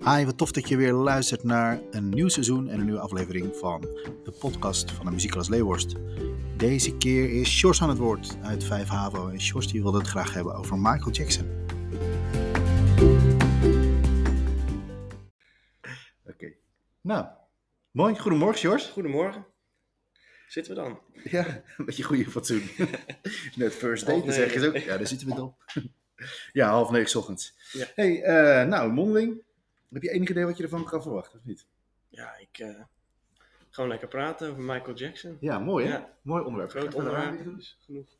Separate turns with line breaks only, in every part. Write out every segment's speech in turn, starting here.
Hi, wat tof dat je weer luistert naar een nieuw seizoen en een nieuwe aflevering van de podcast van de Muziekklas Leeuworst. Deze keer is Sjors aan het woord uit 5 HAVO en Sjors die wilde het graag hebben over Michael Jackson. Oké, nou, mooi. Goedemorgen Sjors.
Goedemorgen. Zitten we dan?
Ja, een beetje goede fatsoen. Net first date,
Half
dan zeggen ze ook. Ja, daar zitten we dan. Ja, half negen 's ochtends.
Ja.
hey, eh, nou, mondeling. Heb je enig idee wat je ervan kan verwachten, of niet?
Ja, ik eh gewoon lekker praten over Michael Jackson.
Ja, mooi hè?
Ja.
Mooi onderwerp. eh,
Groot
Ga verder
onderwerp,
aan.
dat is genoeg.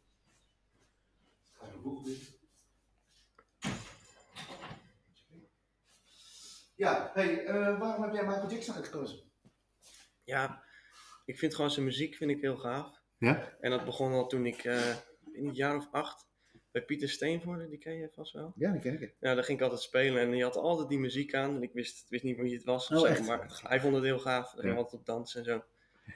Ja, hey, eh, waarom heb jij Michael Jackson uitgekozen?
Ja, ik vind gewoon zijn muziek vind ik heel gaaf.
Ja?
En dat begon al toen ik eh, in het jaar of acht bij Pieter Steenvoorde, die ken je vast wel.
Ja, dat ken ik. hè.
Ja, daar ging ik altijd spelen en die had altijd die muziek aan. En ik wist, wist niet wie het was of
Oh,
zo,
echt?
maar hij vond het heel gaaf. Daar ging
Ja.
altijd op dansen en zo.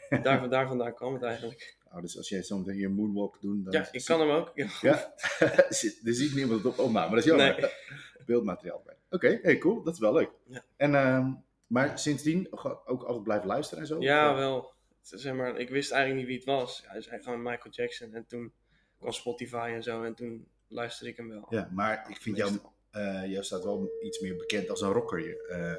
En Daar, daar vandaan kwam het eigenlijk.
Oh, dus als jij zo meteen je moonwalk doet, dan...
Ja, ik kan hem ook. Ja.
Ja? Zit- er ziet niemand het op opname, maar dat is jammer.
Nee.
Beeldmateriaal bij. Oké, hey, cool. Dat is wel leuk.
Ja.
En, ehm, maar sindsdien ge- ook altijd blijven luisteren en zo?
Ja,
Of, eh,
wel. Zeg maar, ik wist eigenlijk niet wie het was. Hij zei gewoon Michael Jackson. En toen kwam Spotify en zo. En toen luisterde ik hem wel.
Ja, maar ik vind jou, eh jou staat wel iets meer bekend als een rocker hier, eh,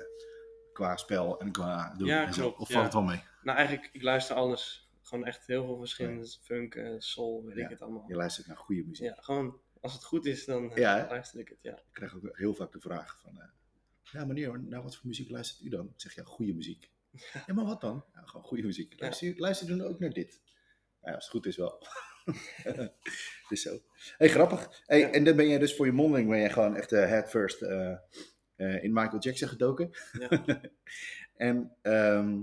qua spel en qua doen.
Ja,
en zo.
klopt,
Of
ja.
valt het wel mee?
Nou, eigenlijk, ik luister alles. Gewoon echt heel veel verschillende. Funk, eh, soul, weet
Ja.
ik het allemaal.
Je luistert naar goede muziek.
Ja, gewoon als het goed is, dan eh,
Ja, hè?
luister ik het. Ja.
Ik krijg ook heel vaak de vraag van... eh, ja meneer, naar wat voor muziek luistert u dan? Ik zeg ja, goede muziek. Ja, maar wat dan? Ja, gewoon goede muziek. Luister, luister dan ook naar dit. Nou ja, als het goed is wel. dus zo. hey, grappig. Hey,
Ja.
En dan ben jij dus voor je mondeling ben jij gewoon echt eh, head first eh, eh, in Michael Jackson gedoken.
Ja.
en ehm,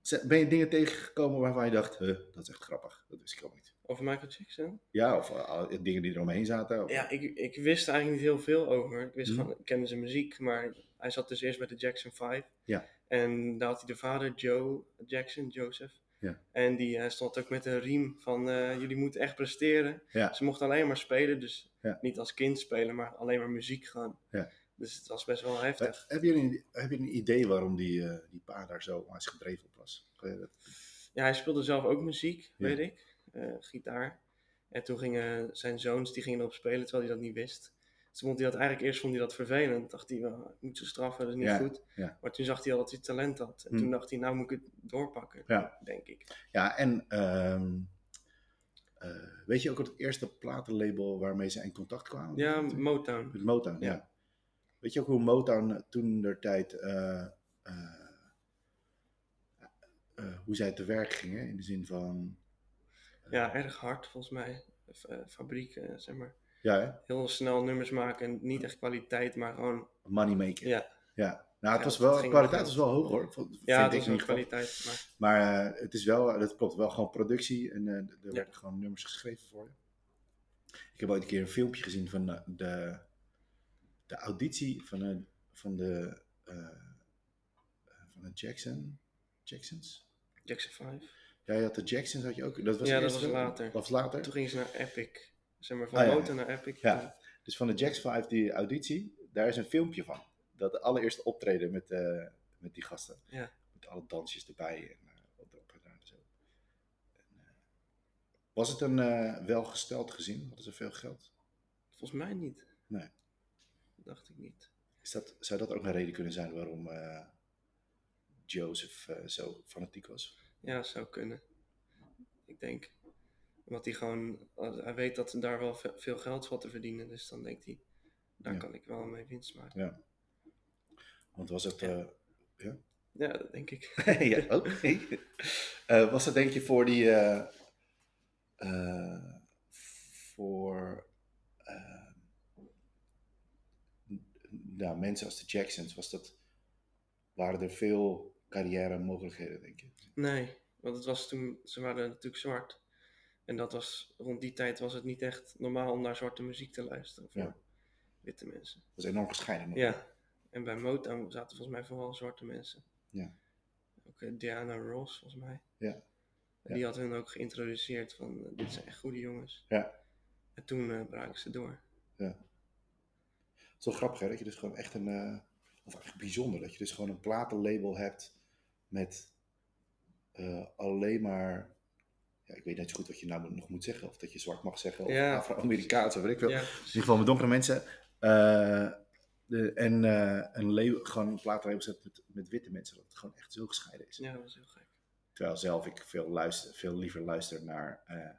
z- ben je dingen tegengekomen waarvan je dacht, huh, dat is echt grappig. Dat wist ik ook niet.
Over Michael Jackson?
Ja, of eh, al- dingen die er omheen zaten. Of,
Ja, ik, ik wist er eigenlijk niet heel veel over. Ik wist
Mhm.
gewoon, ik kende zijn muziek, maar hij zat dus eerst bij de Jackson 5.
Ja.
En daar had hij de vader, Joe Jackson, Joseph.
Ja.
En die eh, stond ook met een riem van, eh, jullie moeten echt presteren.
Ja.
Ze mochten alleen maar spelen, dus
Ja.
niet als kind spelen, maar alleen maar muziek gaan.
Ja.
Dus het was best wel
Heb,
heftig.
Eh, heb, je een, heb je een idee waarom die, eh, die pa daar zo aan is gedreven op was? Eh, dat-
Ja, hij speelde zelf ook muziek,
Ja.
weet ik. eh, gitaar. En toen gingen zijn zoons die gingen erop spelen, terwijl hij dat niet wist. Dus vond hij dat eigenlijk eerst vond hij dat vervelend. Dacht hij, "Wel, ik moet ze straffen, dat is niet
Ja,
goed.
ja.
Maar toen zag hij al dat hij talent had. En
Hm.
toen dacht hij, nou moet ik het doorpakken,
Ja.
denk ik.
Ja, en ehm, eh, weet je ook het eerste platenlabel waarmee ze in contact kwamen?
Ja,
met,
Motown.
met Motown, ja.
Ja.
Weet je ook hoe Motown toen der tijd, eh, eh, hoe zij te werk gingen? In de zin van,
Ja, erg hard volgens mij. F- eh, fabriek, eh, zeg maar.
ja, hè?
Heel snel nummers maken. en Niet echt kwaliteit, maar gewoon...
moneymaker.
Ja,
Ja. Nou, het
Ja,
was
dat
wel,
ging
kwaliteit
wel.
was wel hoog hoor. Vond-
ja
vind
dat
ik
is
in
een
ieder geval.
kwaliteit. Maar
Maar eh, het is wel, dat klopt, wel gewoon productie en eh, er
Ja.
werden gewoon nummers geschreven voor je. Ik heb ooit een keer een filmpje gezien van eh, de, de auditie van, eh, van de eh, eh, van de Jackson, Jacksons.
Jackson 5.
Ja, je had de Jacksons had je ook. Dat was
Ja,
de
dat
eerste,
was later.
Dat was later.
Toen gingen ze naar Epic. Zeg maar, van
Ah, ja, ja.
Motown naar Epic.
Ja. Dus van de Jacks 5, die auditie, daar is een filmpje van. Dat de allereerste optreden met, eh, met die gasten.
Ja.
Met alle dansjes erbij en eh, wat erop gedaan en zo. En, eh, was het een eh, welgesteld gezin? Hadden ze veel geld?
Volgens mij niet.
Nee.
Dacht ik niet.
Is dat, zou dat ook een reden kunnen zijn waarom eh, Joseph eh, zo fanatiek was?
Ja, dat zou kunnen. Ik denk. Omdat hij gewoon. Hij weet dat er daar wel ve- veel geld valt te verdienen. Dus dan denkt hij. Daar
Ja.
kan ik wel mee winst maken.
Want was het... eh,
Ja. Ja, dat denk ik.
ja, oké. Eh, was dat denk je voor die... eh, eh, voor... eh, n- nou, mensen als de Jacksons, was dat... Waren er veel carrière mogelijkheden, denk je?
Nee, want het was toen. Ze waren natuurlijk zwart. En dat was. Rond die tijd was het niet echt normaal om naar zwarte muziek te luisteren. Voor
Ja.
witte mensen.
Dat was enorm gescheiden. nog.
Ja. En bij Motown zaten volgens mij vooral zwarte mensen.
Ja.
Ook eh, Diana Ross, volgens mij.
Ja.
En Die had hun ook geïntroduceerd van eh, dit zijn echt goede jongens.
Ja.
En toen eh braken ze door.
Het is wel grappig, hè? Dat je dus gewoon echt een... eh, of eigenlijk bijzonder, dat je dus gewoon een platenlabel hebt met eh, alleen maar, ja, ik weet niet zo goed wat je nou nog moet zeggen, of dat je zwart mag zeggen, of
Ja.
Afro-Amerikaans, of weet ik veel.
Ja.
In ieder geval met donkere mensen. eh, de, en eh, een label, gewoon een platenlabel zet met, met witte mensen, dat het gewoon echt zo gescheiden is.
ja, dat is heel gek.
Terwijl zelf ik veel, luister, veel liever luister naar eh,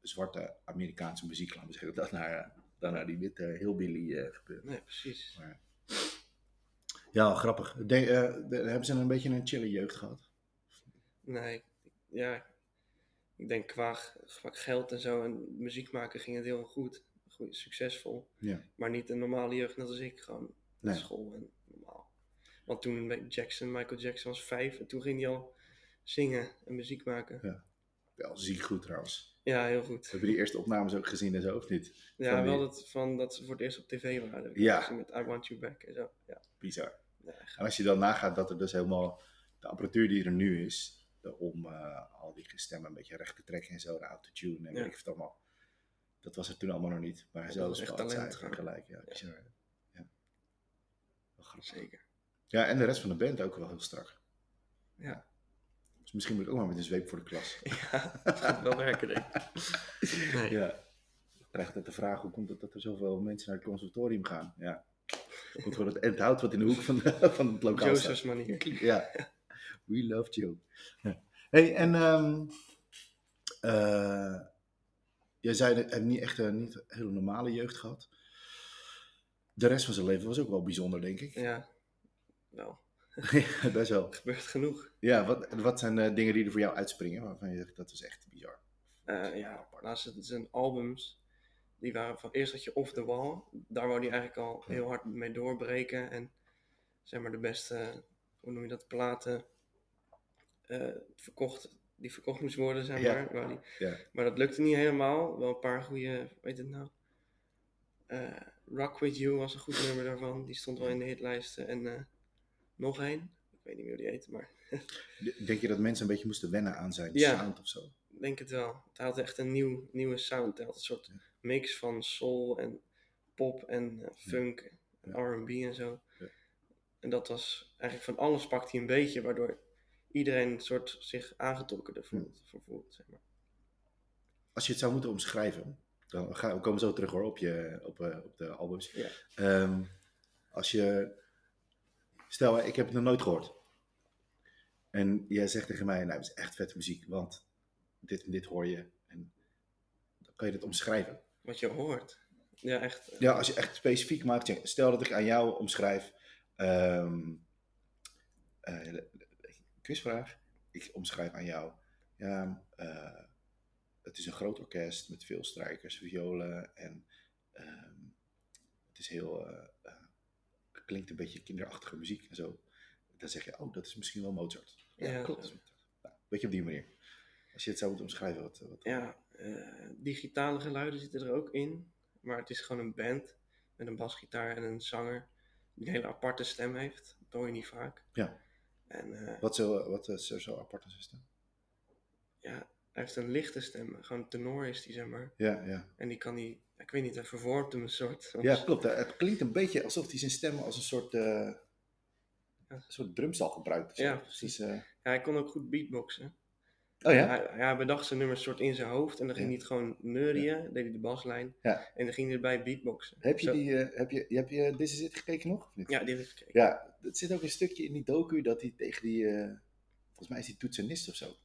zwarte Amerikaanse muziek, laten we zeggen, dan naar, eh, dan naar die witte hillbilly eh gebeuren.
Nee, precies.
Ja, grappig. De- eh, de- hebben ze een beetje een chille jeugd gehad?
Nee, ja. Ik denk qua, qua geld en zo en muziek maken ging het heel goed. goed succesvol.
Ja.
Maar niet een normale jeugd net als ik. Gewoon naar
Nee.
school en normaal. Want toen met Jackson, Michael Jackson was vijf en toen ging hij al zingen en muziek maken.
Ja. Wel ziek goed trouwens.
Ja, heel goed.
Hebben die eerste opnames ook gezien en zo, of niet?
Ja,
Van die-
wel dat, van dat ze voor het eerst op tv waren. heb ik
Ja.
gezien Met I Want You Back en zo. Ja,
Bizar.
ja, echt.
En als je dan nagaat dat er dus helemaal de apparatuur die er nu is, de- om eh, al die stemmen een beetje recht te trekken en zo, de autotune en
Ja.
weet ik het allemaal. Dat was er toen allemaal nog niet. Maar
dat
zo
was
is
echt
wel het
talent,
cijfer
gewoon.
gelijk. Ja, bizar. hè? Ja. Wel grappig.
zeker.
Ja, en de rest van de band ook wel heel strak.
Ja.
Dus misschien moet ik ook maar met een zweep voor de klas.
Ja, dat gaat wel werken denk ik. Nee.
Ja. Dan krijg je altijd de vraag, hoe komt het dat er zoveel mensen naar het conservatorium gaan? Ja. Komt gewoon het enthoud wat in de hoek van, de- van het lokaal staat.
Joseph's manier.
Ja. We love Joe. Ja. hey, en ehm eh, jij zei, dat je hebt niet echt een niet een hele normale jeugd gehad. De rest van zijn leven was ook wel bijzonder, denk ik.
Ja, wel.
Ja, Best wel.
Gebeurt genoeg.
Ja, wat, wat zijn eh, dingen die er voor jou uitspringen waarvan je zegt, dat is echt bizar?
Eh, ja, laatst het- zijn albums. Die waren van eerst had je Off the Wall. Daar wou hij eigenlijk al heel hard mee doorbreken. En zeg maar de beste, hoe noem je dat, platen eh, verkocht, die verkocht moest worden, zeg
Ja.
maar. Wou die-
Ja.
Maar dat lukte niet helemaal. Wel een paar goede, weet het nou. Eh, Rock With You was een goed nummer daarvan. Die stond wel in de hitlijsten. En eh, nog één. Ik weet niet meer hoe die heet, maar
D- Denk je dat mensen een beetje moesten wennen aan zijn
Ja.
sound of zo?
Ik denk het wel. Het had echt een nieuw, nieuwe sound. Het had een soort mix van soul en pop en eh, funk en R&B en zo.
Ja.
En dat was eigenlijk van alles pakt hij een beetje, waardoor iedereen een soort zich aangetrokken ervoor voor voelt. Zeg maar.
Als je het zou moeten omschrijven, dan gaan we komen zo terug hoor op, je, op, eh, op de albums.
Ja.
Ehm, als je, stel hè, ik heb het nog nooit gehoord. En jij zegt tegen mij, nou het is echt vette muziek, want dit en dit hoor je. En dan kan je dat omschrijven.
Wat je hoort. Ja, echt. eh,
Ja, als je echt specifiek maakt, zeg, stel dat ik aan jou omschrijf, ehm eh, quizvraag, ik omschrijf aan jou, ja, eh, het is een groot orkest met veel strijkers, violen en ehm, het is heel, eh, eh, het klinkt een beetje kinderachtige muziek en zo. Dan zeg je, oh, dat is misschien wel Mozart. Ja,
Ja,
klopt. Nou, weet je, op die manier. Als je het zou moeten omschrijven, wat... wat
ja eh, digitale geluiden zitten er ook in. Maar het is gewoon een band met een basgitaar en een zanger die een hele aparte stem heeft. Dat hoor je niet vaak.
Ja.
En eh,
Wat, zo, wat is er zo apart aan zijn stem?
ja, hij heeft een lichte stem, gewoon tenor is die, zeg maar.
Ja, ja.
En die kan die, ik weet niet, hij vervormt hem een soort. want-
Ja, klopt. hè. Het klinkt een beetje alsof hij zijn stem als een soort, eh, een soort drumstal gebruikt. of zo.
Ja, precies.
Dus, eh,
Ja, hij kon ook goed beatboxen.
oh ja?
Hij, hij bedacht zijn nummers soort in zijn hoofd en dan ging
Ja.
hij het gewoon neurien, deed hij de baslijn.
Ja.
En dan ging hij erbij beatboxen.
Heb je,
Zo-
die, eh, heb, je, heb je This Is It gekeken nog? Of niet?
Ja, die heb ik gekeken.
ja, het zit ook een stukje in die docu dat hij tegen die, eh, volgens mij is hij toetsenist of zo.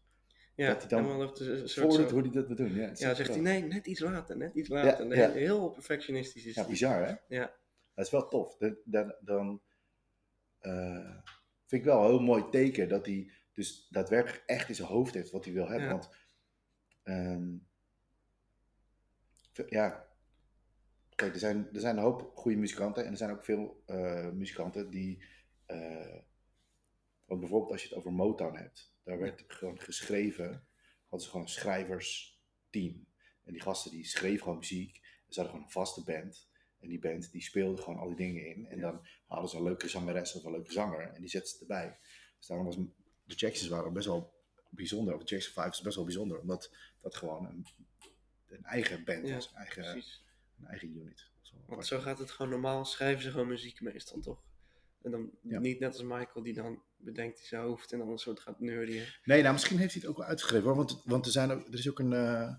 Ja,
dat hij dan
helemaal op de- een soort
Voordat
zo-
hoe hij dat moet doen. Ja,
Ja, zegt hij, nee, net iets later, net iets
Ja,
later. Nee,
ja.
Heel perfectionistisch is
Ja,
hij.
bizar hè?
Ja.
Dat is wel tof. Dan, dan, dan eh, vind ik wel een heel mooi teken dat hij dus daadwerkelijk echt in zijn hoofd heeft wat hij wil hebben.
Ja.
Want ehm, v- ja, kijk, er zijn, er zijn een hoop goede muzikanten en er zijn ook veel eh, muzikanten die, eh, want bijvoorbeeld als je het over Motown hebt, daar werd gewoon geschreven, hadden ze gewoon een schrijversteam. En die gasten die schreven gewoon muziek, ze hadden gewoon een vaste band. En die band die speelde gewoon al die dingen in. En dan hadden ze een leuke zangeres of een leuke zanger. En die zetten ze erbij. Dus daarom was m- de Jacksons waren best wel bijzonder. Of de Jackson 5 is best wel bijzonder. Omdat dat gewoon een, een eigen band
Ja,
was. Een eigen,
Precies.
een eigen unit. Zo
Want zo gaat het gewoon normaal, schrijven ze gewoon muziek meestal, toch? En dan
Ja.
niet net als Michael die dan bedenkt in zijn hoofd en dan een soort gaat neurien.
Nee, nou, misschien heeft hij het ook wel uitgeschreven hoor. Want, want er, zijn, ook- er is ook een, eh,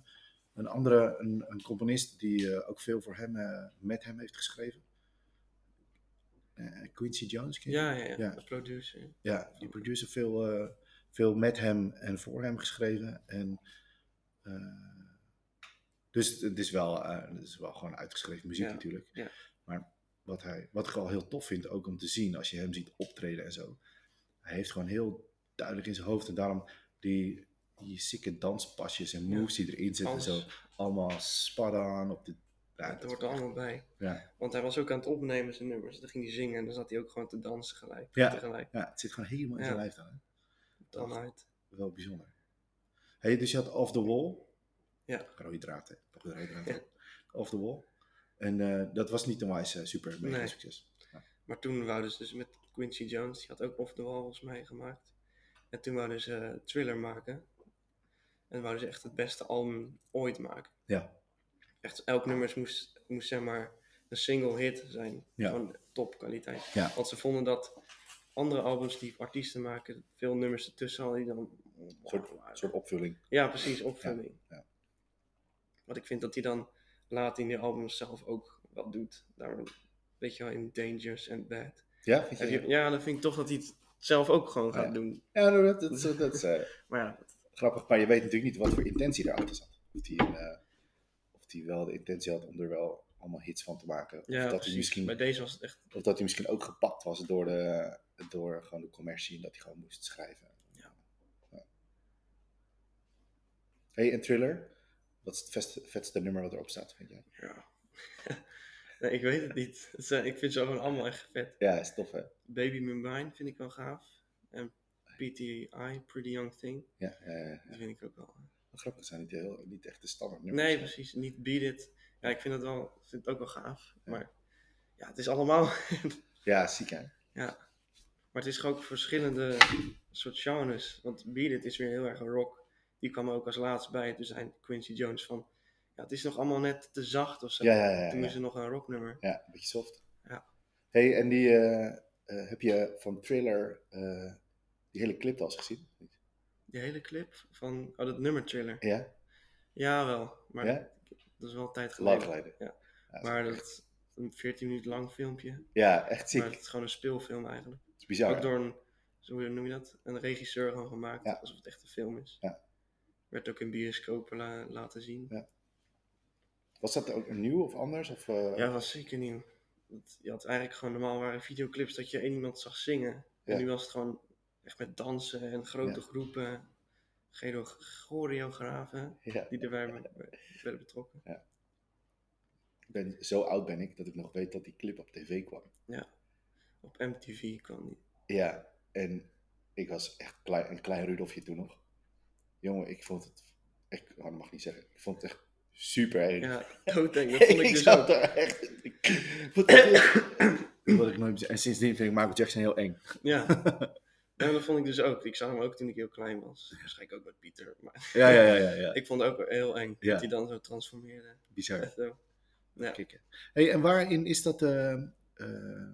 een andere, een, een componist die eh, ook veel voor hem, eh, met hem heeft geschreven. Eh, Quincy Jones, ken je?
Ja, ja, ja,
Ja.
De producer.
Ja, die producer veel, eh, veel met hem en voor hem geschreven. En, eh, dus het is, wel, eh, het is wel gewoon uitgeschreven muziek
Ja,
natuurlijk.
ja.
Maar wat, hij, wat ik wel heel tof vind ook om te zien als je hem ziet optreden en zo. Hij heeft gewoon heel duidelijk in zijn hoofd en daarom die, die zieke danspasjes en
Ja.
moves die erin zitten. en
Alles.
Zo, allemaal spot on op de... Ja,
het
dat-
hoort er allemaal bij.
ja,
Want hij was ook aan het opnemen zijn nummers. Dan ging hij zingen en dan zat hij ook gewoon te dansen gelijk.
Ja.
Tegelijk.
ja, het zit gewoon helemaal in zijn
Ja.
lijf dan. hè.
Dan uit.
wel bijzonder. Hey, dus je had Off the Wall.
Ja.
Rode draad, hè? Toch een rode draad.
Ja.
Off the Wall. En eh, dat was niet een wijze super mega
Nee.
succes.
Maar toen wouden ze dus met Quincy Jones, die had ook Off the Wall volgens mij gemaakt. En toen wouden ze eh, Thriller maken. En wouden ze echt het beste album ooit maken.
Ja,
Echt, elk nummer moest, moest zeg maar een single hit zijn.
Ja.
Gewoon topkwaliteit.
Ja.
Want ze vonden dat andere albums die artiesten maken, veel nummers ertussen hadden die dan...
een soort, soort opvulling.
Ja, precies, opvulling.
Ja, ja.
Want ik vind dat hij dan later in die albums zelf ook wel doet. Daar, weet je wel, in Dangerous and Bad.
Ja, vind
Heb
je?
je- ja, dan vind ik toch dat hij het zelf ook gewoon
Ja.
gaat doen.
Ja, nou, dat, dat, is- dat is eh,
Maar ja, dat-
grappig. Maar je weet natuurlijk niet wat voor intentie erachter zat. Of die, eh, of die wel de intentie had om er wel allemaal hits van te maken. Of,
ja,
dat, hij
precies.
misschien,
Bij deze was het echt...
of dat hij misschien ook gepakt was door, de, door gewoon de commercie. En dat hij gewoon moest schrijven.
Ja.
Ja. Hey, en Thriller? Wat is het vetste, vetste nummer wat erop staat, vind jij?
Ja. nee, ik weet het niet. Het zijn- ik vind ze gewoon allemaal echt vet.
Ja, is tof hè?
Baby Mine vind ik wel gaaf. En PTI, Pretty Young Thing.
Ja, ja, ja.
Die vind ik ook wel...
Wat grappig, het zijn niet, heel, niet echt de standaard nummers.
Nee,
hè?
precies. Niet Beat It. Ja, ik vind het, wel, ik vind het ook wel gaaf. Maar ja, het is allemaal...
Ja, ziek hè?
Ja. Maar het is ook verschillende soort genres. Want Beat It is weer heel erg een rock. Die kwam er ook als laatst bij. Toen zei Quincy Jones van... Ja, het is nog allemaal net te zacht of zo.
Ja, ja, ja, ja.
Toen is er nog een rocknummer.
Ja, een beetje soft.
Ja.
Hey, en die eh, eh, heb je van Thriller eh, die hele clip al eens gezien?
Die hele clip van... Oh, dat nummer Thriller.
Ja?
Jawel. Maar
Ja?
dat is wel een tijd
Lang
geleden.
geleden.
Ja.
Ja,
Maar
is
dat
echt-
is een 14 minuten lang filmpje.
ja, echt ziek.
Maar het is gewoon een speelfilm eigenlijk.
Het is bizar.
ook
hè?
door een... zo- Hoe noem je dat? Een regisseur gewoon gemaakt.
Ja.
Alsof het echt een film is.
Ja.
Werd ook in bioscopen la- laten zien.
Was dat ook nieuw of anders? Of, eh,
Ja, dat was zeker nieuw. Want je had eigenlijk gewoon normaal waren videoclips dat je één iemand zag zingen.
Ja.
En nu was het gewoon echt met dansen en grote
Ja.
groepen, choreo- choreografen
ja.
die erbij werden- werden betrokken.
Ik ben, zo oud ben ik dat ik nog weet dat die clip op tv kwam.
Op MTV kwam die.
Ja, en ik was echt klein, een klein Rudolfje toen nog. Jongen, ik vond het. Ik, oh, dat mag ik niet zeggen. Ik vond het echt super erg.
Ja, doodeng. Dat vond ik dus ook.
daar echt. Wat ik nooit. En sindsdien vind ik Michael Jackson heel eng.
Ja. Ja, dat vond ik dus ook. Ik zag hem ook toen ik heel klein was. Waarschijnlijk ook met Pieter. Maar
Ja, ja, ja, ja. ja.
ik vond het ook heel eng
Ja.
dat hij dan zo transformeerde.
Bizar.
Echt zo. Ja.
Kikken. Hey, en waarin is dat. eh, eh,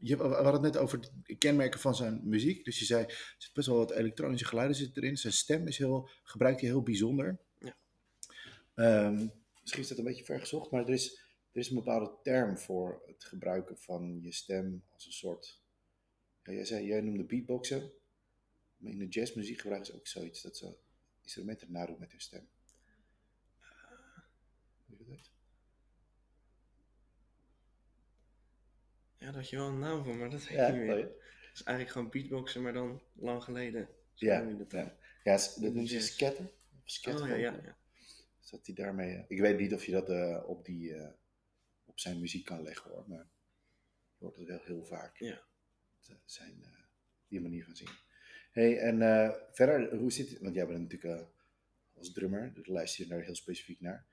je, we hadden het net over de kenmerken van zijn muziek. Dus je zei, er zit best wel wat elektronische geluiden zit erin. Zijn stem is heel, gebruikt hij heel bijzonder.
Ja.
Ehm, misschien is dat een beetje ver gezocht, maar er is, er is een bepaalde term voor het gebruiken van je stem als een soort. Ja, jij, zei, jij noemde beatboxen. Maar in de jazzmuziek gebruiken ze ook zoiets dat ze instrumenten nadoen met hun stem.
Ah.
Hoe je dat heet?
Ja, daar had je wel een naam voor, maar dat weet ik
Ja,
niet meer.
oh ja.
Het is eigenlijk gewoon beatboxen, maar dan lang geleden. Zo
Ja,
noem je dat dan.
ja. Ja, s- dat noemen ze
Jazz.
scatter. Of scatter.
Oh, ja, ja, ja.
Dus dat hij daarmee... eh, Ik weet niet of je dat eh, op, die, eh, op zijn muziek kan leggen hoor, maar je hoort het wel heel vaak.
Ja.
Het, eh, Zijn, eh, die manier van zingen. hey, en eh, verder, hoe zit het? Want jij bent natuurlijk eh, als drummer, dus luister je daar heel specifiek naar.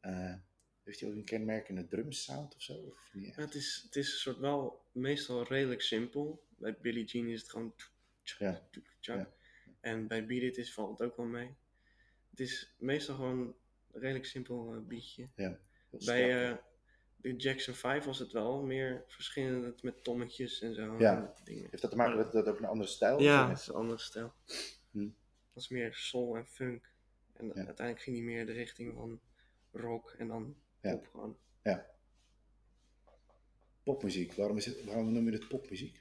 Eh, heeft hij ook een kenmerkende drumsound of zo? Of niet echt?
Maar het, is, het is een soort wel meestal redelijk simpel. Bij Billie Jean is het gewoon... tjoek, tjoek,
Ja,
tjoek, tjoek.
ja.
En bij Beat It is, valt het ook wel mee. Het is meestal gewoon een redelijk simpel eh, beatje.
Heel strak,
Bij
hè?
eh, de Jackson 5 was het wel meer verschillend met tommetjes en zo.
Ja.
en dingen.
Heeft dat te maken met dat het ook een andere stijl
Ja, dat
is?
is een andere stijl.
Hm.
Dat is meer soul en funk. En
Ja.
uiteindelijk ging hij meer de richting van rock en dan
Ja.
pop gewoon.
Popmuziek. Waarom, is het, waarom noem je dit popmuziek?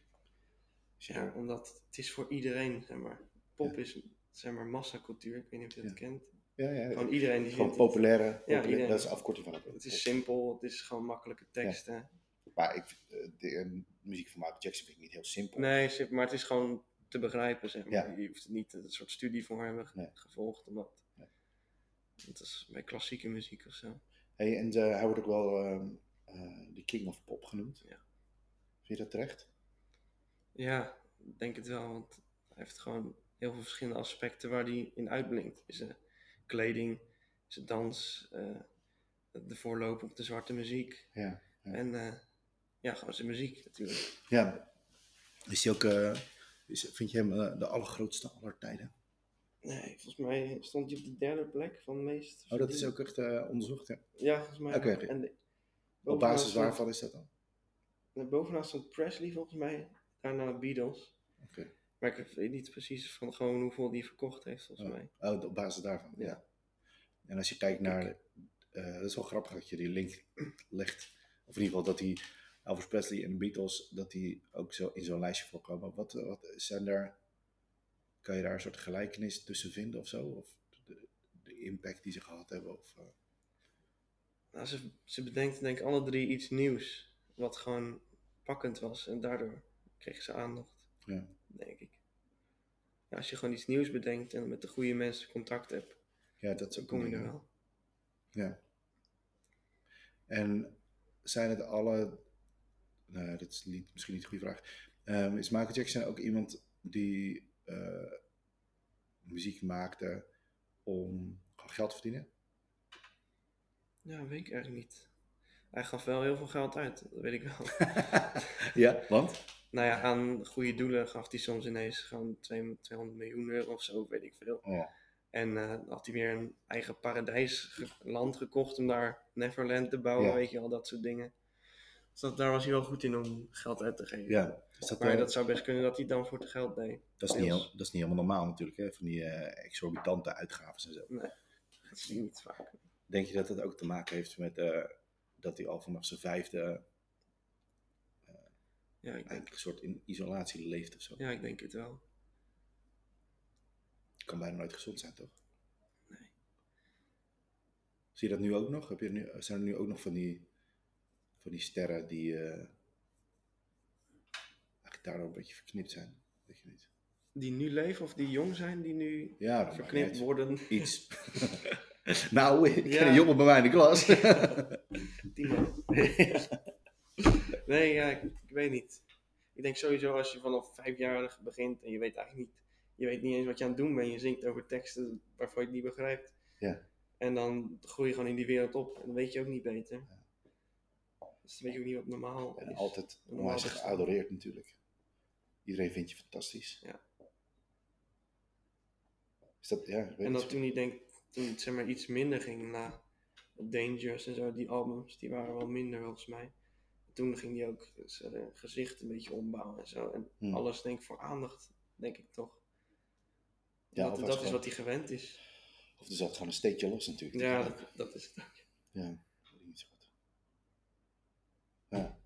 Als je-
Ja, omdat het is voor iedereen, zeg maar. Pop is, zeg maar, massacultuur. Ik weet niet of je dat
Ja.
kent.
ja, ja.
Gewoon iedereen die
Gewoon
vindt het.
populaire, populaire-
iedereen.
dat is een afkorting van het.
Het is simpel, het is gewoon makkelijke teksten.
Maar ik, vind, eh, de eh, muziek van Michael Jackson vind ik niet heel simpel.
Nee, sim- maar het is gewoon te begrijpen, zeg maar.
Ja.
Je hoeft er niet een soort studie voor hebben ge-
Nee.
gevolgd, omdat...
Nee.
Dat is bij klassieke muziek of zo.
Hey, en eh, hij wordt ook wel ehm, eh, de King of Pop genoemd.
Ja.
Vind je dat terecht?
Ja, ik denk het wel, want hij heeft gewoon heel veel verschillende aspecten waar hij in uitblinkt. Is eh, kleding, zijn dans, eh, de voorloop op de zwarte muziek
Ja. Ja.
en eh, ja, gewoon zijn muziek natuurlijk.
Ja. Is hij ook, eh, is, vind je hem eh, de allergrootste aller tijden?
Nee, volgens mij stond hij op de derde plek van de meest.
Oh, dat is
verdiende-
ook echt eh, onderzocht, ja.
Ja, volgens mij.
Oké,
wel.
oké.
En de-
Op
bovenaan
basis
stond-
waarvan is dat dan?
eh, Bovenaan stond Presley volgens mij, daarna Beatles.
Oké.
Maar ik weet niet precies van gewoon hoeveel die verkocht heeft volgens mij.
Oh, op basis daarvan, ja.
Ja.
En als je kijkt naar... eh, dat is wel grappig dat je die link legt. Of in ieder geval dat die Elvis Presley en de Beatles... dat die ook zo in zo'n lijstje voorkomen. Wat, eh, wat zijn daar... Kan je daar een soort gelijkenis tussen vinden of zo? Of de, de impact die ze gehad hebben? Of, eh,
Nou, ze, ze bedenkt denk ik alle drie iets nieuws. Wat gewoon pakkend was. En daardoor kreeg ze aandacht.
Ja.
Denk ik. Ja, als je gewoon iets nieuws bedenkt en met de goede mensen contact hebt.
ja, dat is
Dan
ook
kom
een
je er
ding, hè?
wel.
Ja. En zijn het alle. Nou, dat is niet, misschien niet de goede vraag. Ehm, is Michael Jackson ook iemand die eh, muziek maakte om geld te verdienen?
Ja, weet ik eigenlijk niet. Hij gaf wel heel veel geld uit. Dat weet ik wel.
ja, want?
nou ja, aan goede doelen gaf hij soms ineens gewoon 2 200 miljoen euro of zo. Weet ik veel.
Oh,
En eh, had hij weer een eigen paradijsland gekocht om daar Neverland te bouwen.
Ja.
Weet je al dat soort dingen. Dus dat, daar was hij wel goed in om geld uit te geven.
ja. Is dat,
Maar
eh,
dat zou best kunnen dat hij het dan voor het geld deed.
dat, is niet, heel-
deels.
dat is niet helemaal normaal natuurlijk, hè? van die eh, exorbitante uitgaven en zo.
Dat zie je niet vaak.
Denk je dat dat ook te maken heeft met eh, dat hij al vanaf zijn vijfde
Ja ik, denk,
eigenlijk een soort in isolatie leeft of zo?
ja, ik denk het wel.
kan bijna nooit gezond zijn, toch?
Nee.
Zie je dat nu ook nog? Heb je nu, zijn er nu ook nog van die, van die sterren die eh, eigenlijk daardoor een beetje verknipt zijn? Weet je niet.
Die nu leven of die jong zijn, die nu
Ja, dat maakt niet
verknipt
uit.
worden,
Iets. nou, ik ken
Ja.
een jongen bij mij in de klas.
die man. Nee, ja, ik, ik weet niet. Ik denk sowieso als je vanaf vijfjarig begint en je weet eigenlijk niet, je weet niet eens wat je aan het doen bent. Je zingt over teksten waarvan je het niet begrijpt.
Ja.
En dan groei je gewoon in die wereld op en dan weet je ook niet beter. Dus dan weet je ook niet wat normaal
en
is.
altijd
Normaal
onwijs
bestaan.
geadoreerd natuurlijk. Iedereen vindt je fantastisch.
Ja.
Is dat, ja, ik weet
En
niet
dat
zo-
toen hij denk, toen het zeg maar iets minder ging na Dangerous en zo, die albums, die waren wel minder volgens mij. Toen ging hij ook eh, zijn gezicht een beetje ombouwen en zo. En
Hmm.
alles denk ik voor aandacht, denk ik toch.
ja,
dat
of
dat
was
is
gewoon-
wat hij gewend is.
Of er zat gewoon een steekje los natuurlijk.
Ja, dat, dat is het.
Ja, weet ik niet zo goed. Ja.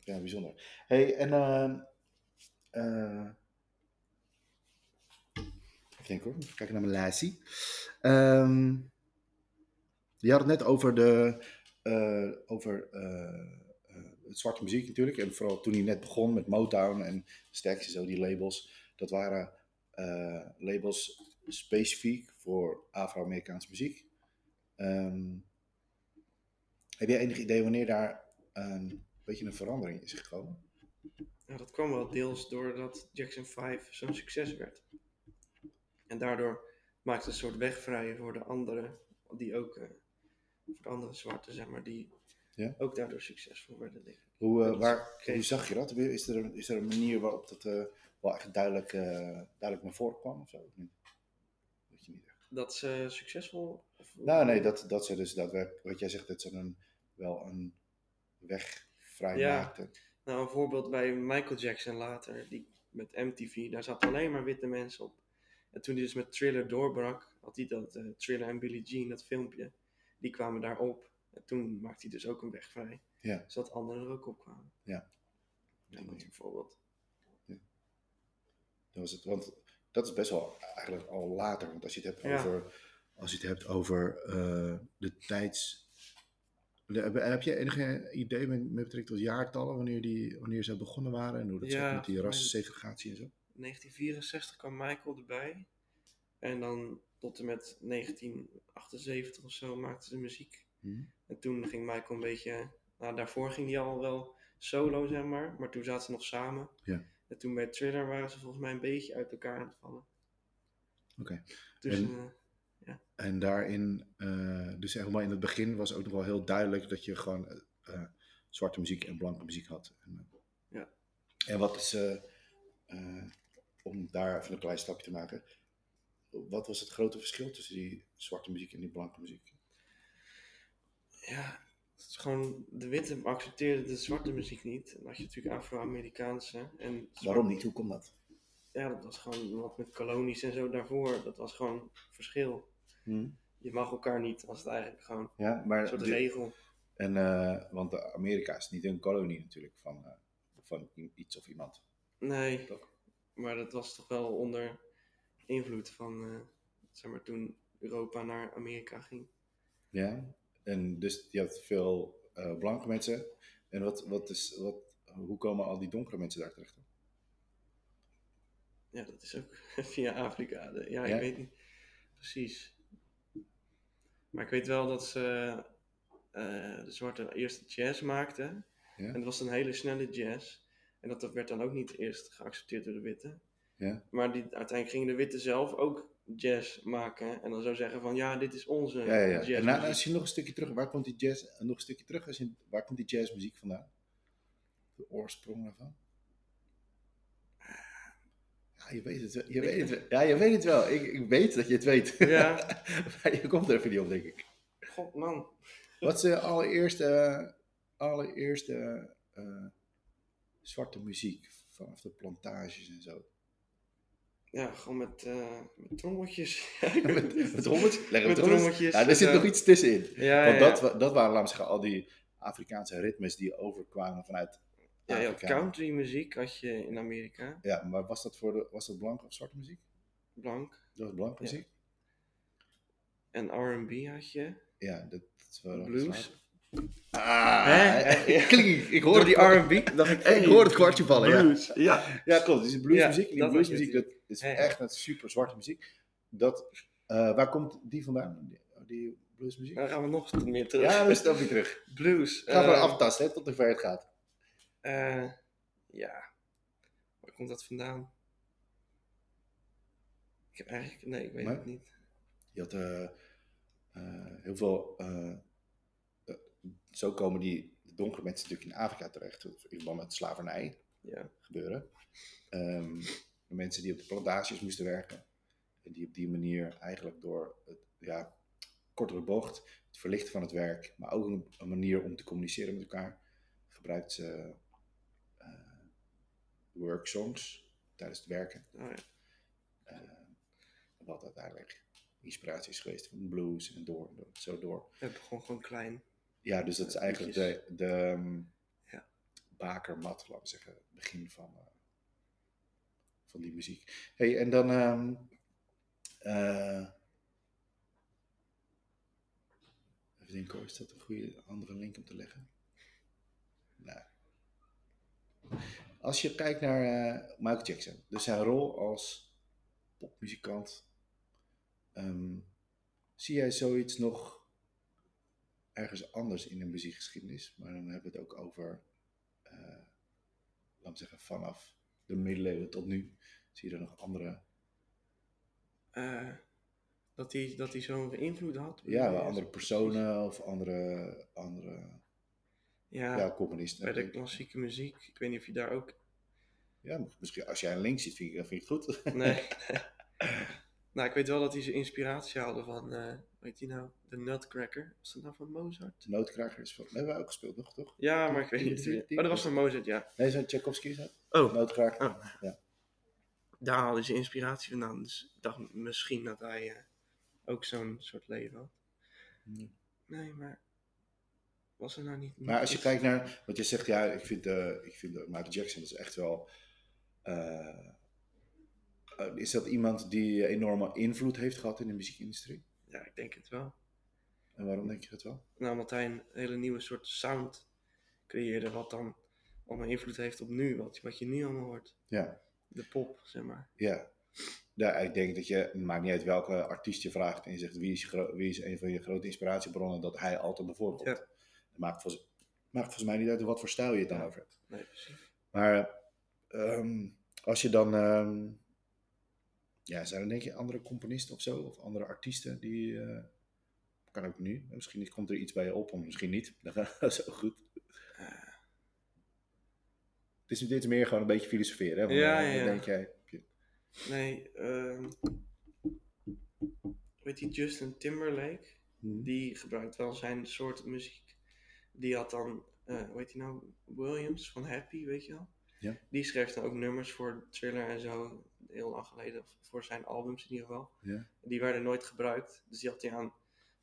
Ja, bijzonder. hey, en ehm eh, ik denk hoor, even kijken naar mijn lijstje. Ehm, je had het net over de eh, over eh, eh, het zwarte muziek natuurlijk. En vooral toen hij net begon met Motown en Stax en zo, die labels. Dat waren eh, labels specifiek voor Afro-Amerikaanse muziek. Ehm, heb jij enig idee wanneer daar ehm, een beetje een verandering is gekomen?
Ja, dat kwam wel deels doordat Jackson 5 zo'n succes werd. En daardoor maakte het een soort weg vrij voor de anderen, die ook, eh, voor de andere zwarte zeg maar, die
Ja.
ook daardoor succesvol werden. denk ik.
Hoe, eh,
Dat is
waar,
oké.
hoe zag je dat? Is er een, is er een manier waarop dat eh, wel echt duidelijk, eh, duidelijk naar voren kwam of zo? Of niet? Weet je niet echt.
Dat ze eh, succesvol. Of,
Nou nee, dat, dat ze dus daadwerkelijk, wat jij zegt, dat ze een wel een weg vrij
Ja.
maakte.
Nou, een voorbeeld bij Michael Jackson later, die met MTV, daar zaten alleen maar witte mensen op. En toen hij dus met Thriller doorbrak, had hij dat eh, Thriller en Billie Jean, dat filmpje, die kwamen daar op. En toen maakte hij dus ook een weg vrij,
Ja.
zodat anderen er ook op kwamen.
Ja.
Ja, dat is een voorbeeld.
Dat was het, want dat is best wel eigenlijk al later. Want als je het hebt
Ja.
over, als je het hebt over eh, de tijds. De- heb- heb je enige idee met, met betrekking tot jaartallen, wanneer, die, wanneer ze begonnen waren en hoe dat
Ja,
zat met die
volgens mij-
rassegregatie en zo?
1964 kwam Michael erbij. En dan tot en met 1978 of zo maakte ze muziek.
Hm?
En toen ging Michael een beetje. Nou, daarvoor ging hij al wel solo, zeg maar. Maar toen zaten ze nog samen.
Ja.
En toen bij Thriller waren ze volgens mij een beetje uit elkaar aan het vallen.
Oké.
Dus
En-
eh,
En daarin, eh, dus helemaal in het begin was ook nog wel heel duidelijk dat je gewoon eh, eh, zwarte muziek en blanke muziek had. En, eh,
Ja.
En wat is, eh, eh, om daar even een klein stapje te maken, wat was het grote verschil tussen die zwarte muziek en die blanke muziek?
ja, het is gewoon de witte accepteerden de zwarte muziek niet. En dan had je natuurlijk Afro-Amerikaanse. En
Waarom niet? Hoe komt dat?
ja, dat was gewoon wat met kolonies en zo daarvoor. Dat was gewoon verschil. Je mag elkaar niet, was het eigenlijk gewoon
Ja,
Hmm. een
maar
soort
de-
regel.
en, eh, want eh, Amerika is niet een kolonie natuurlijk van, eh, van i- iets of iemand.
Nee,
Toch?
maar dat was toch wel onder invloed van, eh, zeg maar, toen Europa naar Amerika ging.
Ja, en dus je had veel eh, blanke mensen. En wat, wat is, wat, hoe komen al die donkere mensen daar terecht? dan?
Ja, dat is ook via Afrika. De- Ja,
Ja.
ik weet niet precies. Maar ik weet wel dat ze eh, de zwarte eerste jazz maakten.
Ja.
En dat was een hele snelle jazz. En dat werd dan ook niet eerst geaccepteerd door de witte.
Ja.
Maar die, uiteindelijk gingen de witte zelf ook jazz maken. En dan zou zeggen van, ja, dit is onze
Ja, ja, ja.
jazz.
En nou, als je nog een stukje terug, waar komt die jazz, nog een stukje terug, als je, waar komt die jazzmuziek vandaan? De oorsprong daarvan? Ja, je weet het wel. Je weet het wel. Ja, je weet het wel. Ik, ik weet dat je het weet.
Ja.
maar je komt er even niet op, denk ik.
God, man.
Wat is de allereerste, eh, allereerste eh, zwarte muziek vanaf de plantages en zo?
Ja, gewoon met, eh met trommeltjes.
met, met trommeltjes? Leggen we
Met
trommeltjes?
trommeltjes,
Ja, daar zit
ja.
nog iets tussenin.
Ja,
Want
ja,
dat,
ja.
wa- dat waren, laten we zeggen, al die Afrikaanse ritmes die overkwamen vanuit
Ja, je had
Afrika.
country muziek had je in Amerika.
Ja, maar was dat, voor de, was dat blanke of zwarte muziek?
Blank.
Dat was blanke
Ja.
muziek?
En R&B had je.
Ja, dat is wel...
Blues.
Ah,
Hè?
klink, ik hoor
Door
die
die
arm.
R&B dacht ik...
Ik hoor het kwartje vallen, ja.
Blues, ja.
Ja, klopt. Dus die bluesmuziek, en die
dat was
bluesmuziek, dat
het.
is
Ja, ja.
echt een super zwarte muziek. Dat, eh, waar komt die vandaan, die, die bluesmuziek?
Dan gaan we nog meer terug.
Ja, dat is ook weer terug.
Blues.
Gaan we
eh,
aftasten, hè, tot hoe ver het gaat.
eh, ja. Waar komt dat vandaan? Ik heb eigenlijk... Nee, ik weet
Maar-
het niet.
Je had eh, eh, heel veel... eh, eh, zo komen die donkere mensen natuurlijk in Afrika terecht, in verband met slavernij.
Ja.
gebeuren. Ehm, de mensen die op de plantages moesten werken. En die op die manier eigenlijk door het ja, kortere bocht, het verlichten van het werk, maar ook een, een manier om te communiceren met elkaar, gebruikt ze eh worksongs tijdens het werken.
Oh, ja.
Wat uiteindelijk inspiratie is geweest van blues en door, door- zo door.
Het begon gewoon klein.
Ja, dus dat is
Eh,
eigenlijk
liedjes.
de, de ehm,
Ja.
bakermat, laten we zeggen, het begin van, eh, van die muziek. Hey, en dan. ehm, eh, even denken, hoor, is dat een goede andere link om te leggen? Nou. Als je kijkt naar eh, Michael Jackson, dus zijn rol als popmuzikant, ehm, zie jij zoiets nog ergens anders in de muziekgeschiedenis. Maar dan hebben we het ook over, eh laten we zeggen, vanaf de middeleeuwen tot nu. Zie je er nog andere,
Eh, dat hij dat hij zo'n invloed had.
ja, wel
Yes.
andere personen of andere, andere
Ja,
ja, componisten.
bij de
natuurlijk.
klassieke muziek. Ik weet niet of je daar ook...
Ja, misschien als jij een link ziet, vind ik, vind ik het goed.
Nee. Nou, ik weet wel dat hij zijn inspiratie haalde van, eh weet die nou, de Nutcracker. Was dat nou van Mozart?
De Noodkraker is van... Hebben we ook gespeeld nog, toch?
Ja, maar ik weet niet. wie- Oh, dat was van Mozart, ja.
Nee, zo'n Tchaikovsky is dat?
Oh,
Noodkraker.
Oh. daar haalde hij zijn inspiratie vandaan. Dus ik dacht misschien dat hij eh, ook zo'n soort leven had.
Ja.
Nee, maar was er nou niet...
Hmm. Maar als je kijkt naar, want je zegt ja, ik vind, eh ik vind eh, Michael Jackson dat is echt wel. eh, eh, is dat iemand die enorme invloed heeft gehad in de muziekindustrie?
Ja, ik denk het wel.
En waarom denk je dat wel?
Nou, omdat hij een hele nieuwe soort sound creëerde, wat dan allemaal invloed heeft op nu, wat, wat je nu allemaal hoort.
Ja,
De pop, zeg maar.
ja. ja ik denk dat je, maakt niet uit welke artiest je vraagt en je zegt wie is, je gro- wie is een van je grote inspiratiebronnen, dat hij altijd naar voren komt.
Ja.
Dat maakt volgens, maakt volgens mij niet uit wat voor stijl je het dan
Ja.
over hebt.
Nee, precies.
Maar ehm, als je dan. ehm, ja, zijn er denk je andere componisten of zo? Of andere artiesten die. eh, kan ook nu. Misschien komt er iets bij je op, of misschien niet. Dat gaat zo goed.
Eh,
Het is, dit is meer gewoon een beetje filosoferen. Hè? Van,
Ja,
eh,
ja,
wat
ja.
denk jij? Heb je-
nee, ehm weet je, Justin Timberlake,
Hmm.
die gebruikt wel zijn soort muziek. Die had dan, eh weet je nou, Williams van Happy, weet je wel?
Ja.
Die schreef dan ook nummers voor Thriller en zo, heel lang geleden, of voor zijn albums in ieder geval.
Ja.
Die werden nooit gebruikt, dus die had hij aan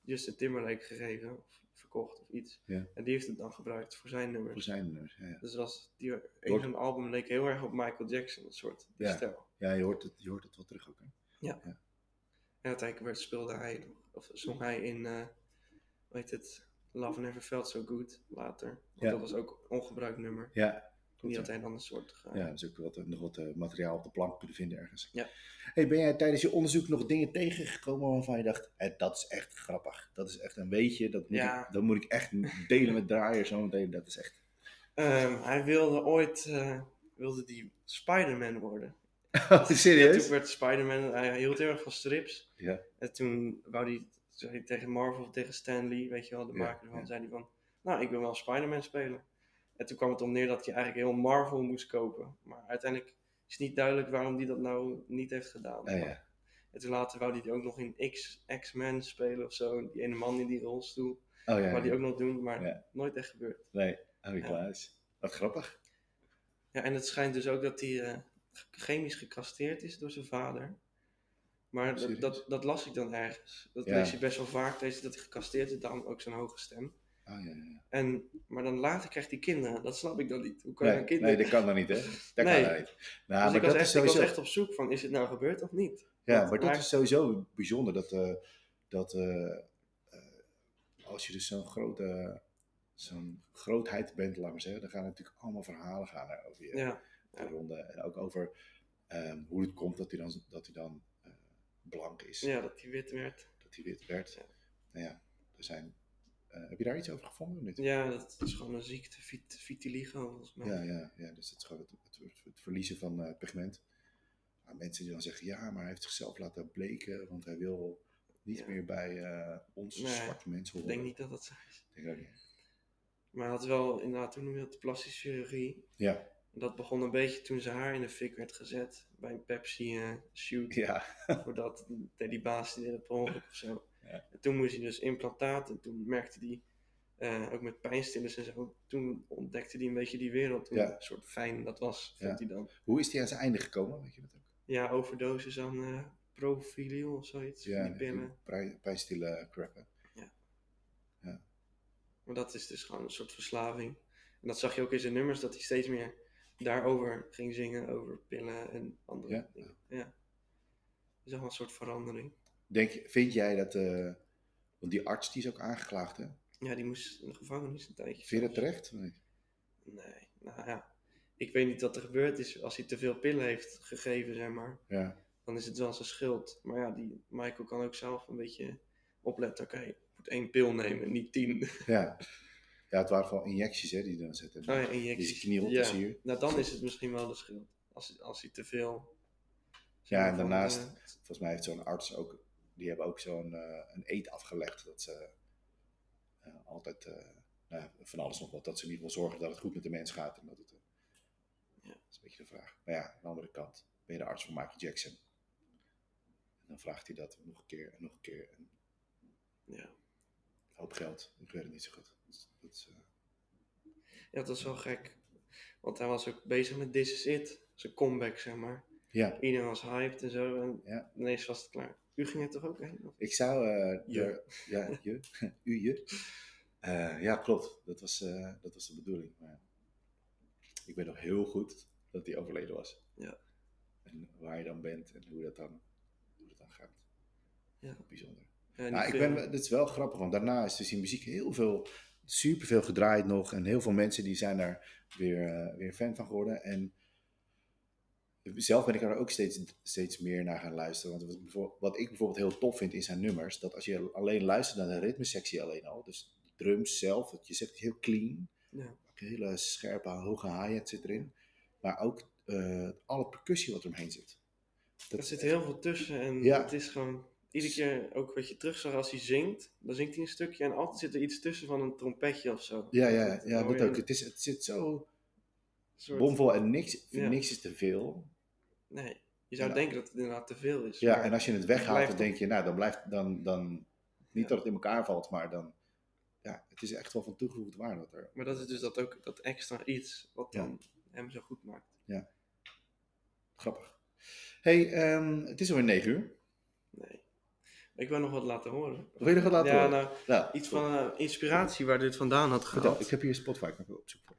Justin Timberlake gegeven, of verkocht of iets.
Ja.
En die heeft het dan gebruikt voor zijn nummers.
Voor zijn nummers. Ja, ja.
Dus dat was, die, een
Wordt-
van de album leek heel erg op Michael Jackson, dat soort die
Ja.
stijl.
ja je, hoort het, je hoort het wel terug ook. Hè?
En uiteindelijk werd, speelde hij, nog- of zong hij in, eh weet het, Love Never Felt So Good later. Want
Ja.
dat was ook een ongebruikt nummer.
Ja.
En die
Klopt,
had hij dan een soort ge-
Ja, dus ook wat, nog wat eh, materiaal op de plank kunnen vinden ergens.
Ja.
Hey, ben jij tijdens je onderzoek nog dingen tegengekomen waarvan je dacht, eh, dat is echt grappig. Dat is echt een weetje, dat moet,
Ja.
ik, dat moet ik echt delen met Draaier zometeen. Dat is echt...
Ehm, hij wilde ooit, eh, wilde die Spider-Man worden. En
serieus?
toen werd Spider-Man, hij hield heel erg van strips.
Ja.
En toen wou hij, zei hij tegen Marvel of tegen Stan Lee, weet je wel, de
Ja,
maker ervan,
ja.
zei hij van, nou, ik wil wel Spider-Man spelen. En toen kwam het om neer dat je eigenlijk heel Marvel moest kopen. Maar uiteindelijk is niet duidelijk waarom hij dat nou niet heeft gedaan.
Ah, ja.
En toen later wou hij die ook nog in X- X-Men spelen of zo. Die ene man in die rolstoel.
Oh
Wou
ja,
die ook nog doen, maar
Ja.
nooit echt gebeurd.
nee. Oh, ik
Ja.
Klaas. Wat grappig.
Ja, en het schijnt dus ook dat hij eh, ge- chemisch gecastreerd is door zijn vader. Maar dat,
Serieus?
dat, dat las ik dan ergens. Dat
Ja.
lees je best wel vaak, lees je dat hij gecastreerd is, daarom ook zo'n hoge stem.
Oh, ja, ja, ja.
En, maar dan later krijgt hij kinderen, dat snap ik dan niet. Hoe kan je
Nee,
dan kinderen...
nee, dat kan dan niet, hè? Dat
Nee.
kan dan niet. Nou,
dus
maar
ik was,
dat
echt,
is
ik was
sowieso...
echt op zoek van, is het nou gebeurd of niet?
Ja,
Want-
maar dat
maar-
is sowieso bijzonder. Dat, eh, dat eh, eh, als je dus zo'n grote zo'n grootheid bent, laat maar zeggen, dan gaan er natuurlijk allemaal verhalen gaan er over je
Ja,
de ronde. En ook over ehm, hoe het komt dat hij dan, dat hij dan eh, blank is,
ja dat hij wit werd.
dat hij wit werd.
Ja.
Nou ja, er zijn, eh, heb je daar iets over gevonden? of niet?
Ja, dat is gewoon een ziekte, vit- vitiligo volgens mij.
Ja, ja, ja, dus het is gewoon het, het, het verliezen van eh, pigment. Maar mensen die dan zeggen, ja, maar hij heeft zichzelf laten bleken, want hij wil niet
Ja.
meer bij eh, ons
Nee,
zwarte mensen
Ik
horen.
denk niet dat dat zo is.
Ik denk ook niet.
Maar hij had wel inderdaad, toen noemde dat plastische chirurgie.
Ja,
Dat begon een beetje toen zijn haar in de fik werd gezet bij een Pepsi eh shoot.
ja,
Voordat die, die baas die deed het per ongeluk of zo.
Ja.
En toen moest hij dus implantaten. En toen merkte hij, eh, ook met pijnstillers en zo. Toen ontdekte hij een beetje die wereld. Toen
Ja.
een soort fijn dat was,
Ja.
vond hij dan.
Hoe is hij aan zijn einde gekomen? Weet je dat ook?
Ja, overdosis aan eh profiliel of zoiets. van die pillen.
pijn- pijnstille eh, crap. hè?
Maar dat is dus gewoon een soort verslaving. En dat zag je ook in zijn nummers, dat hij steeds meer daarover ging zingen, over pillen en andere
Ja.
dingen. Ja. Dat is allemaal een soort verandering.
Denk, je- vind jij dat, eh, want die arts die is ook aangeklaagd, hè?
Ja, die moest in de gevangenis een tijdje.
Vind je dat terecht? of niet?
Nee, nou ja. Ik weet niet wat er gebeurd is als hij te veel pillen heeft gegeven, zeg maar.
Ja,
Dan is het wel zijn schuld. Maar ja, die Michael kan ook zelf een beetje opletten. Oké, ik moet één pil nemen, niet tien. Oh
ja. Ja, het waren vooral injecties hè, die hij dan zetten.
ja,
Die zijn
Oh, injecties.
knie rot
Ja.
is hier.
Nou, dan is het misschien wel de schuld. Als, als hij te veel.
Ja,
zeg
en
van,
daarnaast-
eh,
Volgens mij heeft zo'n arts ook, die hebben ook zo'n eh, een eet afgelegd dat ze eh, altijd eh, nou ja, van alles nog wat, dat ze in ieder geval zorgen dat het goed met de mens gaat. En dat, het, eh,
Ja.
dat is een beetje de vraag. Maar ja, aan de andere kant, ben je de arts van Michael Jackson? dan vraagt hij dat nog een keer en nog een keer. En
Ja.
een hoop geld. Ik weet het niet zo goed. Dat is- dat is, eh,
ja, dat is wel gek. Want hij was ook bezig met This Is It. Zijn comeback, zeg maar.
ja,
Iedereen was hyped en zo. En
Ja.
ineens was het klaar. U ging er toch ook heen? Of-
ik zou... eh,
Je.
er- ja, je. U, je. Eh, ja, klopt. Dat was, eh, dat was de bedoeling. Maar ik weet nog heel goed dat hij overleden was.
Ja.
En waar je dan bent en hoe dat dan, hoe dat dan gaat.
Ja.
Bijzonder.
Ja, in
Nou,
die
ik
film.
ben, dat is wel grappig, want daarna is dus die muziek heel veel, superveel gedraaid nog. En heel veel mensen die zijn daar weer, eh, weer fan van geworden. En zelf ben ik er ook steeds, steeds meer naar gaan luisteren. Want wat, bijvoor- wat ik bijvoorbeeld heel tof vind in zijn nummers, dat als je alleen luistert naar de ritmesectie alleen al, dus de drums zelf, wat je zegt is heel clean.
Ja.
Ook Een hele scherpe, hoge hi-hat zit erin. Maar ook eh, alle percussie wat er omheen zit.
Er zit heel veel tussen en
Ja.
het is gewoon... Iedere keer ook wat je terugzag als hij zingt, dan zingt hij een stukje en altijd zit er iets tussen van een trompetje of zo.
Ja, ja,
Dat-
ja,
hoor
dat
je
ook.
een
Het, is, het zit zo
soort-
bomvol en niks,
Ja.
niks is te veel.
Nee, je zou
Ja.
denken dat het inderdaad te veel is.
Ja,
Dus maar-
en als je het
blijft
weghaalt, dan
het-
denk je, nou, dan blijft dan, dan niet
Ja.
dat het in elkaar valt, maar dan, ja, het is echt wel van toegevoegd waarde wat er.
Maar dat is dus dat ook dat extra iets wat
Ja.
dan hem zo goed maakt.
Grappig. Hey, ehm, het is alweer 9 uur.
Nee. Ik wil nog wat laten horen.
Wil je nog wat laten
ja,
horen?
nou,
Nou,
iets van eh, inspiratie waar dit vandaan had gehaald.
vertel. Ik heb hier Spotify, ik heb op zoek voor.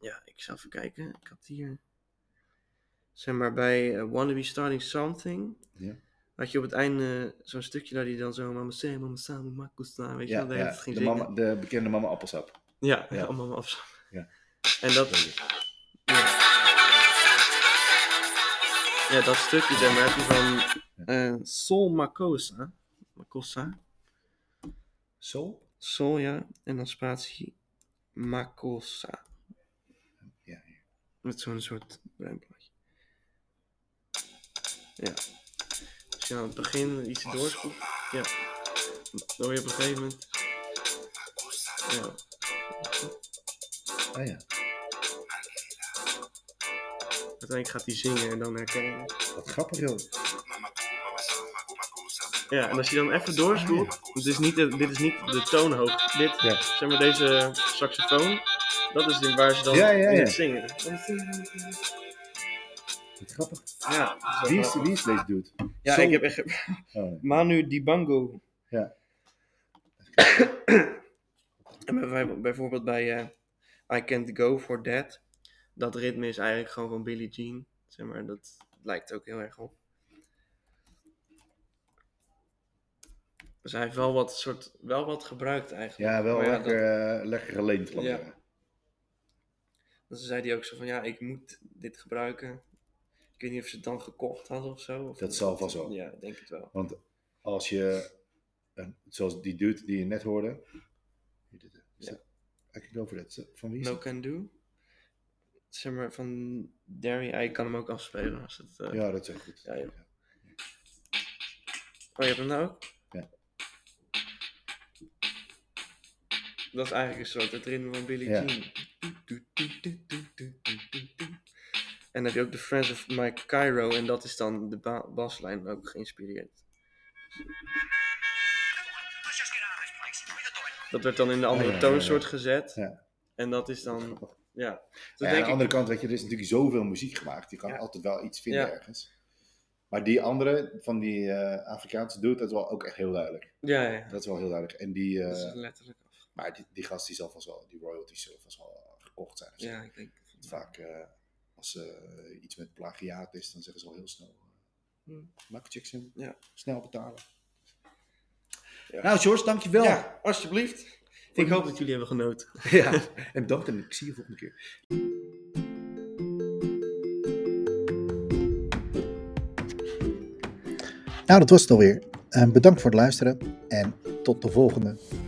Ja, ik zal even kijken. Ik had hier. Zeg maar bij eh, Wanna Be Starting Something.
Ja.
Had je op het einde zo'n stukje dat hij dan zo Mama Say, Mama Samu, Makusta, weet je
Ja,
wel, de hele tijd
ja,
ging
de,
zingen.
mama, de bekende mama appelsap.
Ja,
Ja.
ja. allemaal maar afzamelen.
Ja.
En dat, ja, dat stukje zeg maar, heb je van eh, Sol Makosa. Makosa.
Sol?
Sol, ja. En dan spatie Makosa.
Ja,
Met zo'n soort bruinplaatje. Ja. Als je aan het begin iets doorspoelt. Ja. Dan hoor je op een gegeven moment. Ja.
Ah ja,
Uiteindelijk gaat hij zingen en dan herkennen.
wat grappig joh.
Ja, en als je dan even doorspoelt, het is niet de, dit is niet de toonhoogte. Dit,
Ja.
zeg maar deze saxofoon, dat is in waar ze dan
Ja, ja,
in
ja.
het zingen.
Wat grappig.
Ja, dat wel
Wie is,
grappig.
wie is deze dude?
ja
Sol-
ik heb echt...
Oh, nee.
Manu Dibango.
Ja.
en bij- bij- bijvoorbeeld bij eh, I Can't Go For That, dat ritme is eigenlijk gewoon van Billie Jean. Zeg maar, dat lijkt ook heel erg op. Dus hij heeft wel wat, soort, wel wat gebruikt eigenlijk.
Ja, wel
Maar Oh ja,
lekker, eh, lekker geleend. laat
Ja.
maar zeggen.
Dus Dan zei hij ook zo van, ja, ik moet dit gebruiken. Ik weet niet of ze het dan gekocht hadden of zo. Of
Dat zal vast wel.
Ja, ik denk het wel.
Want als je, en zoals die dude die je net hoorde, Wie dit- eh, is
Ja.
dat- ik kijk over dat. Van wie is
No
dat?
Can Do. Zeg maar, van Derry, ja, ik kan hem ook afspelen als het... eh,
Ja, dat is ook goed.
Ja, joh. Oh, je hebt hem nou ook?
Ja.
Dat is eigenlijk een soort het ritme van Billie
Ja.
Jean. En dan heb je ook de Friends of Mike Cairo en dat is dan de ba- baslijn ook geïnspireerd. Dat werd dan in een andere
Oh, ja, ja, ja.
toonsoort gezet.
Ja.
En dat is dan,
Grappig.
ja. Dus
Ja, aan
dat
de
denk ik,
andere kant, weet je, er is natuurlijk zoveel muziek gemaakt. Je kan
Ja.
altijd wel iets vinden
Ja.
ergens. Maar die andere, van die eh, Afrikaanse dude, dat is wel ook echt heel duidelijk.
ja, ja,
Dat is wel heel duidelijk. En die, eh,
dat is Dus letterlijk af.
maar die, die gast die zal vast wel, die royalties zullen vast wel gekocht zijn. of zo.
Ja, ik denk.
Want Vaak eh, als eh, iets met plagiaat is, dan zeggen ze al heel snel. eh,
Hmm.
Michael Jackson,
Ja.
snel betalen.
Ja.
Nou, George, dankjewel.
Ja, alsjeblieft. Ik hoop dat jullie hebben genoten.
ja. En bedankt en ik zie je volgende keer.
Nou, dat was het alweer. Eh, Bedankt voor het luisteren en tot de volgende